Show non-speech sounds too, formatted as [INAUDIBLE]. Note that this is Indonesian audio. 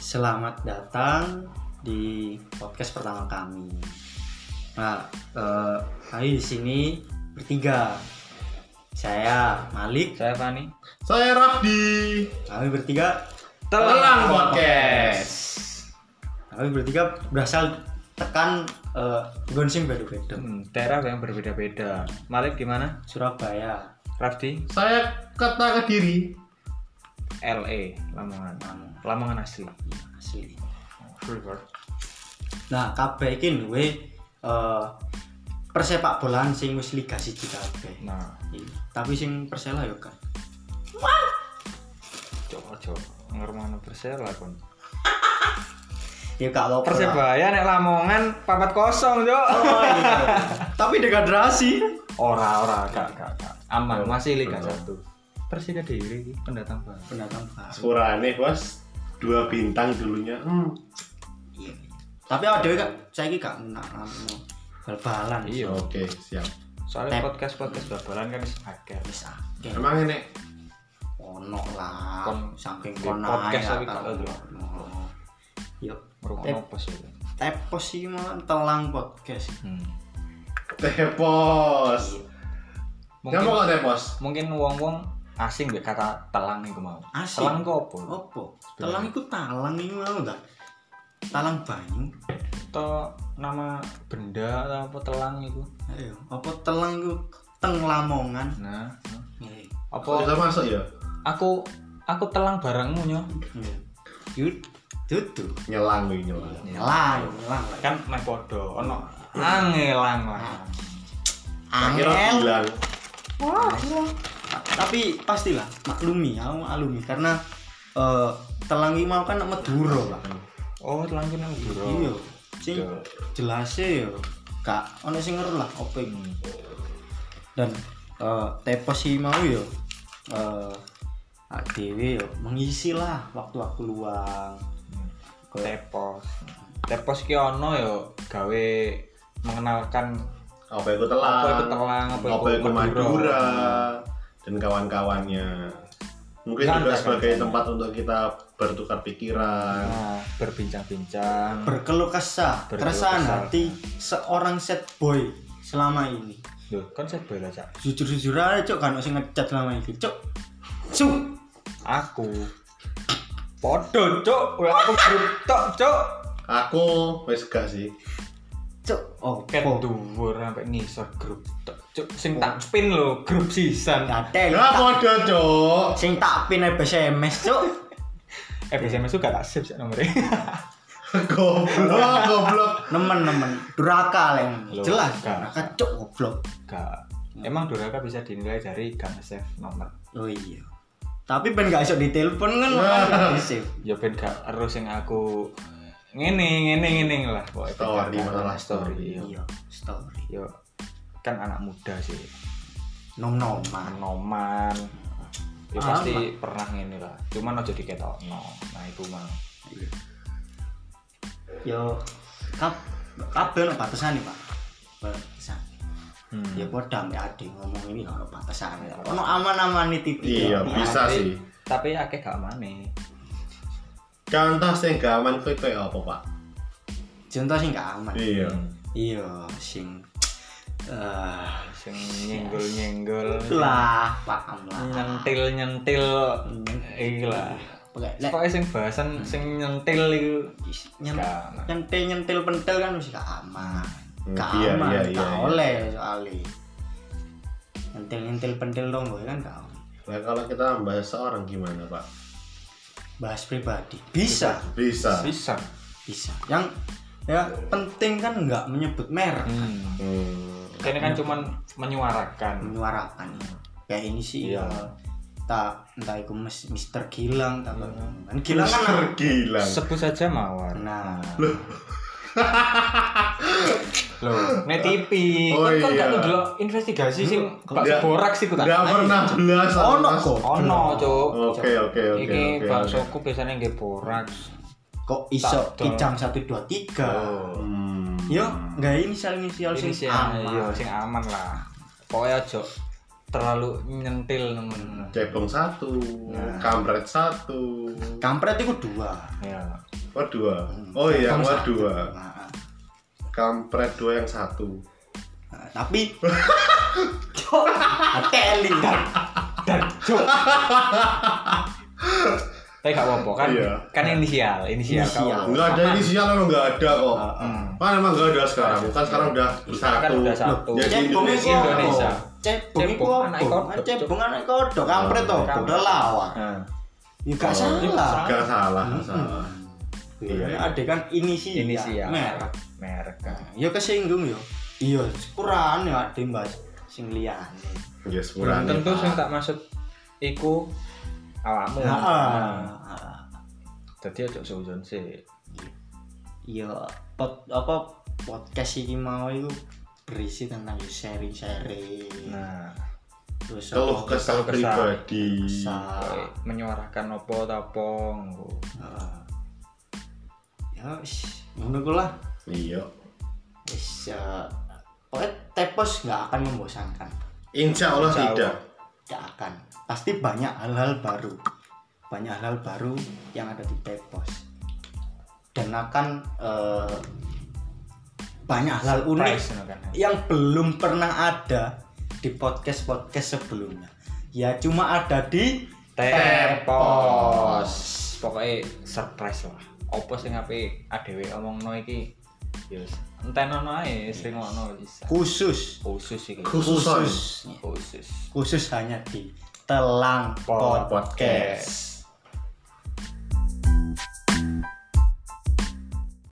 Selamat datang di podcast pertama kami. Nah, eh, kami di sini bertiga. Saya Malik, Saya Fani. Saya Rafdi kami bertiga, Telang Podcast kami bertiga berasal tekan eh, Gonsing Badu Bedok, Hmm, daerah yang berbeda-beda. Malik di mana? Surabaya. Rafdi, Saya kata kediri LA, Lamongan. Lamongan. Lamongan asli. Asli. Freeport. Nah, kabeh iki duwe eh persepak bolaan sing wis liga siji kabeh. Nah, Iya. Tapi sing Persela yo kan. coba coba ngermano Persela kon. Ya kalau [LAUGHS] Persebaya nek Lamongan papat kosong, Cok. Iya. Tapi degradasi. Ora ora, kak kak kak. Aman, Belum, masih Liga belum. 1. Persika Kediri iki pendatang baru. Pendatang baru. Sepurane bos dua bintang dulunya hmm. Iya. Tapi awak dhewe kak saiki gak nak ngono bal-balan. Iya. Ya, Oke siap Soalnya Tep. podcast-podcast babalan kan wis akeh. Wis akeh. Emang ini Ono lah. Kon- Saking di kono podcast ae tapi kak. gak ono. Ono. Yo, Merupakan Tep. apa sih? tepos sih malah telang podcast. Hmm. Tepos Kamu Mungkin kok tepos? mungkin wong-wong asing mbek kata telang iku mau. Asing? Telang Iya. kok apa? Opo? Telang iku talang iku mau ta? Talang banyu. atau nama benda atau apa telang itu Ayo, apa telang iku teng Lamongan? nah Iya. apa Kok bisa masuk ya? aku aku telang barangmu nyo Iya. Yud, dudu. Nyelang gue nyelang Nyelang, nyelang. lah. kan main podo ono angelang lah Angel. Akhirnya bilang tapi pastilah maklumi aku maklumi karena eh telang iki mau kan nek Madura lah oh telang kena bro iya sing jelasnya ya gak ono sing ngeru lah opo iku. dan eh tepos iki mau ya eh awak dhewe ya mengisi lah waktu-waktu luang tepos tepos ki ono yo gawe mengenalkan Apa itu telang? Apa itu telang, apa itu Apa itu Madura? Madura? Dan kawan-kawannya Mungkin Kan, juga kan, sebagai kan. tempat untuk kita bertukar pikiran nah, berbincang-bincang berkeluh kesah Berkeluh keresahan kesah. hati seorang set boy selama ini Loh, kan saya bela cak jujur-jujur aja cok kan sing ngecat selama ini cok cuk aku podo cok Wah, aku grup tok cok Aku, wes gak sih cuk oh Ken po. dhuwur sampe ngisor grup tok. Cuk sing tak pin lho grup sisan. Gatel. Ya podo cok Sing tak pin SMS, Cuk. Iya. Eh SMS juga tak save sik [LAUGHS] nomere. Goblok, goblok Nemen-nemen duraka leng. Loh, Jelas gak. duraka cuk goblok. Gak. Nah. Emang duraka bisa dinilai dari gak save nomor. Oh iya. Tapi ben gak iso ditelepon kan di save. Ya ben gak ero sing aku ngene ngene ngene lah pokoke ben Story, gak ero malah story. story. Yo. Iya, story. Yo kan anak muda sih. Nom-noman. Noman. Ya Ah, pasti pernah ngene lah. Cuman aja diketokno. Nah itu mah. Iya. Yo kap kabeh ono batasan Pak. Batasan. Hmm. Ya padha mbek ade ngomong ini ya ono batasan. Ono aman-aman titik. Iya, Ono bisa Tapi- sih Tapi akeh gak maneh. Contoh sing gak aman kowe koyo apa, Pak? Contoh sing gak aman. Iya. Iya, sing eh Sing nyenggol-nyenggol. lah paham lah. nyentil nyentil Hmm. iki lah Pokoknya, lek- pokoknya sing bahasan sing nyentil itu Nyem- Gak aman. nyentil nyentil pentil kan mesti gak aman Hmm, gak iya, aman iya, gak iya, iya. oleh soalnya nyentil nyentil pentil dong boy kan gak oleh Nah, kalau kita membahas seorang gimana, Pak? bahas pribadi bisa Bisa. bisa bisa yang ya penting kan nggak menyebut merek hmm. Hmm. ini kan cuman menyuarakan menyuarakan kayak ini sih Iya. ya, tak entah itu Mis- Mister Gilang tak Iya. apa. kan Gilang kan Mister Gilang. sebut saja mawar Nah. loh loh nek TV Oh kan iya. gak dulu investigasi sing bakso Nggak- borak sih kudu Nggak pernah belas ono Mas. kok ono cuk Oke, oke, oke, iki oke, baksoku biasanya nggih borak kok iso Tak, dong. kijang satu dua tiga Hmm. yo nggak inisial inisial ini sih Ah, sih aman. aman sing aman lah pokoknya aja terlalu nyentil Hmm. Cebong satu, kampret satu. kampret itu dua ya War dua. Oh iya, Kamu War satu. dua. Nah, Kampret dua yang satu. nah, tapi Cok, kan? hati dan cuk tapi gak apa-apa kan Iya. kan inisial inisial, Inisial. kawan. Enggak ada inisial lo enggak ada kok. Hmm. Kan emang enggak ada sekarang. Kan sekarang udah bersatu. Kan udah satu. Jadi Cebong itu Indonesia. apa? Indonesia. Cebong itu Cebong apa? anak kodok, Cok. Cebong anak kodok, kampret toh, Kampret. udah lawan. Nah, Ya Oh, gak salah. ya gak salah. Enggak salah, Hmm. enggak salah. Iya, Iya. ada kan inisial. inisial Merek. ya, merek kan. Nah, Ya kesinggung yo. Iya, kurang ya ada mbak sing liyane. Ya sepurane. Belum tentu sing tak maksud iku awakmu Nah, Heeh. jadi aja sujon sih Iya, pod, apa podcast ini mau itu berisi tentang sharing-sharing. nah terus Keluh apa- kesah Keluh kesah. pribadi. kesah. kowe menyuarakan opo tapong Heeh. Ya wis, ngono ku lah. Niin Iya. Wis eh, pokoknya tepos nggak akan membosankan. Insya Allah Insya Allah. tidak. Nggak akan. Pasti banyak hal-hal baru. Banyak hal-hal baru yang ada di tepos. Dan akan eh, banyak hal unik Iya. Surprise, no, kan yang belum pernah ada di podcast-podcast sebelumnya. Ya cuma ada di Tepos. Pokoknya surprise lah. Opo sing ape adewe omongno iki? Yes. Entenono ae sing ngono bisa. khusus Khusus iki. Khusus. khusus Khusus. khusus hanya di Telang Pod- Podcast.